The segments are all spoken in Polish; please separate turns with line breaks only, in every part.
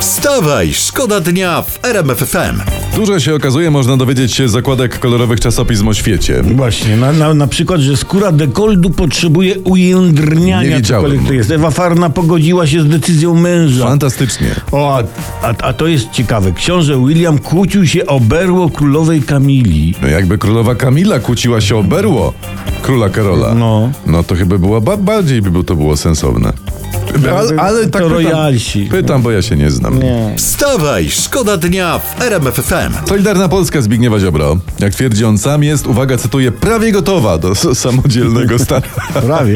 Wstawaj, szkoda dnia w RMFFM.
Dużo się okazuje, można dowiedzieć się z zakładek kolorowych czasopism o świecie.
Właśnie, na, na, na przykład, że skóra dekoldu potrzebuje
Nie
ujędrniania,
wiedziałem.
cokolwiek to jest. Ewa Farna pogodziła się z decyzją męża.
Fantastycznie.
O, a, a, a to jest ciekawe. Książę William kłócił się o berło królowej Kamili.
No jakby królowa Kamila kłóciła się o berło króla Karola.
No.
No to chyba była ba- bardziej by to było sensowne. Ale, ale tak
To
pytam,
royalsi.
pytam, bo ja się nie znam.
Wstawaj, szkoda dnia w RMFFM.
Solidarna Polska Zbigniewa Ziobro, jak twierdzi on sam, jest, uwaga, cytuję, prawie gotowa do s- samodzielnego startu.
Prawie.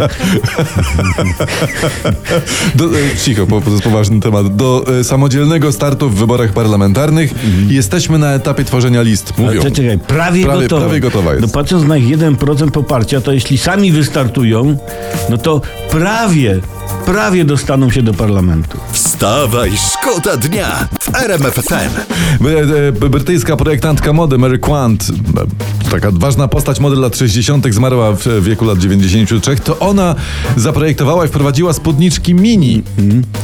Do, e, cicho, bo to jest poważny temat. Do e, samodzielnego startu w wyborach parlamentarnych jesteśmy na etapie tworzenia list. Mówią.
Mhm. Ale czekaj, prawie,
Prawie-
gotowa.
prawie gotowa jest.
No patrząc na ich 1% poparcia, to jeśli sami wystartują, no to prawie, prawie dostaną się do parlamentu.
Wstawaj, szkoda dnia w RMFFM.
Bry- e, Brytyjska projektantka mody Mary Quant, e, taka ważna postać mody lat 60., zmarła w e, wieku lat 93. To ona zaprojektowała i wprowadziła spódniczki mini.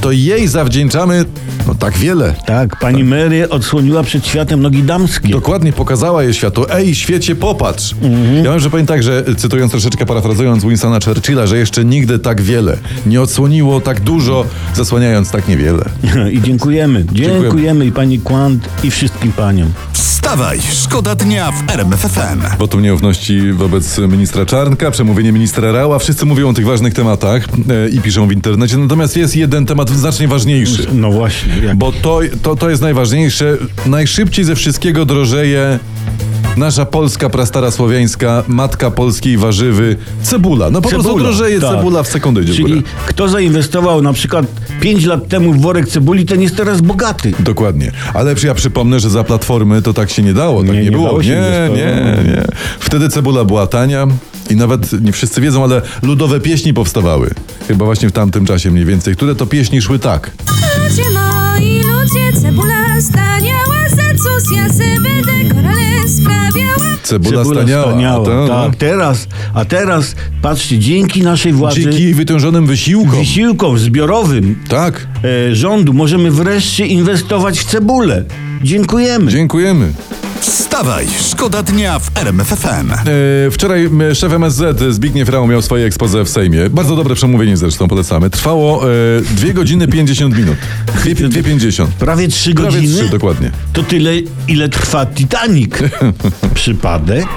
To jej zawdzięczamy no, tak wiele.
Tak, pani Mary odsłoniła przed światem nogi damskie.
Dokładnie pokazała je światu. Ej, świecie, popatrz! Ja mam, że powiem tak, że y, cytując troszeczkę, parafrazując Winstona Churchilla, że jeszcze nigdy tak wiele nie odsłoniło tak dużo, zasłaniając tak niewiele.
I dziękujemy. Dziękujemy,
Dziękujemy.
i pani Kłant i wszystkim paniom.
Wstawaj, szkoda dnia w RMFFM.
Wotum nieufności wobec ministra Czarnka, przemówienie ministra Rała. Wszyscy mówią o tych ważnych tematach e, i piszą w internecie. Natomiast jest jeden temat znacznie ważniejszy.
No właśnie. Jak...
Bo to, to, to jest najważniejsze. Najszybciej ze wszystkiego drożeje nasza polska prastara słowiańska, matka polskiej warzywy, cebula. No po prostu
Cebula,
drożeje
tak.
cebula w sekundę idzie w
Czyli
górę.
kto zainwestował na przykład 5 lat temu w worek cebuli, ten jest teraz bogaty.
Dokładnie. Ale przy- ja przypomnę, że za platformy to tak się nie dało. Tak nie,
Nie, nie
było.
dało się
Nie,
inwestować.
nie, nie. Wtedy cebula była tania i nawet nie wszyscy wiedzą, ale ludowe pieśni powstawały. Chyba właśnie w tamtym czasie mniej więcej. Które to pieśni szły tak.
Ludzie moi, ludzie, cebula staniała, zecusja, zebedek, korale sprawiała.
Cebula, staniała.
staniała,
A no. to-
tak, teraz, a teraz, patrzcie, dzięki naszej władzy,
Dzięki wytężonym wysiłkom.
wysiłkom zbiorowym
tak.
e, rządu możemy wreszcie inwestować w cebulę. Dziękujemy.
Dziękujemy.
Wstawaj, szkoda dnia w RMFFM.
E, Wczoraj m, szef MSZ Zbigniew Rau miał swoje expose w Sejmie. Bardzo dobre przemówienie zresztą, polecamy. Trwało e, 2 godziny 50 minut. 2,50.
Prawie trzy
Prawie
godziny?
3, dokładnie.
To tyle, ile trwa Titanic. Przypadek?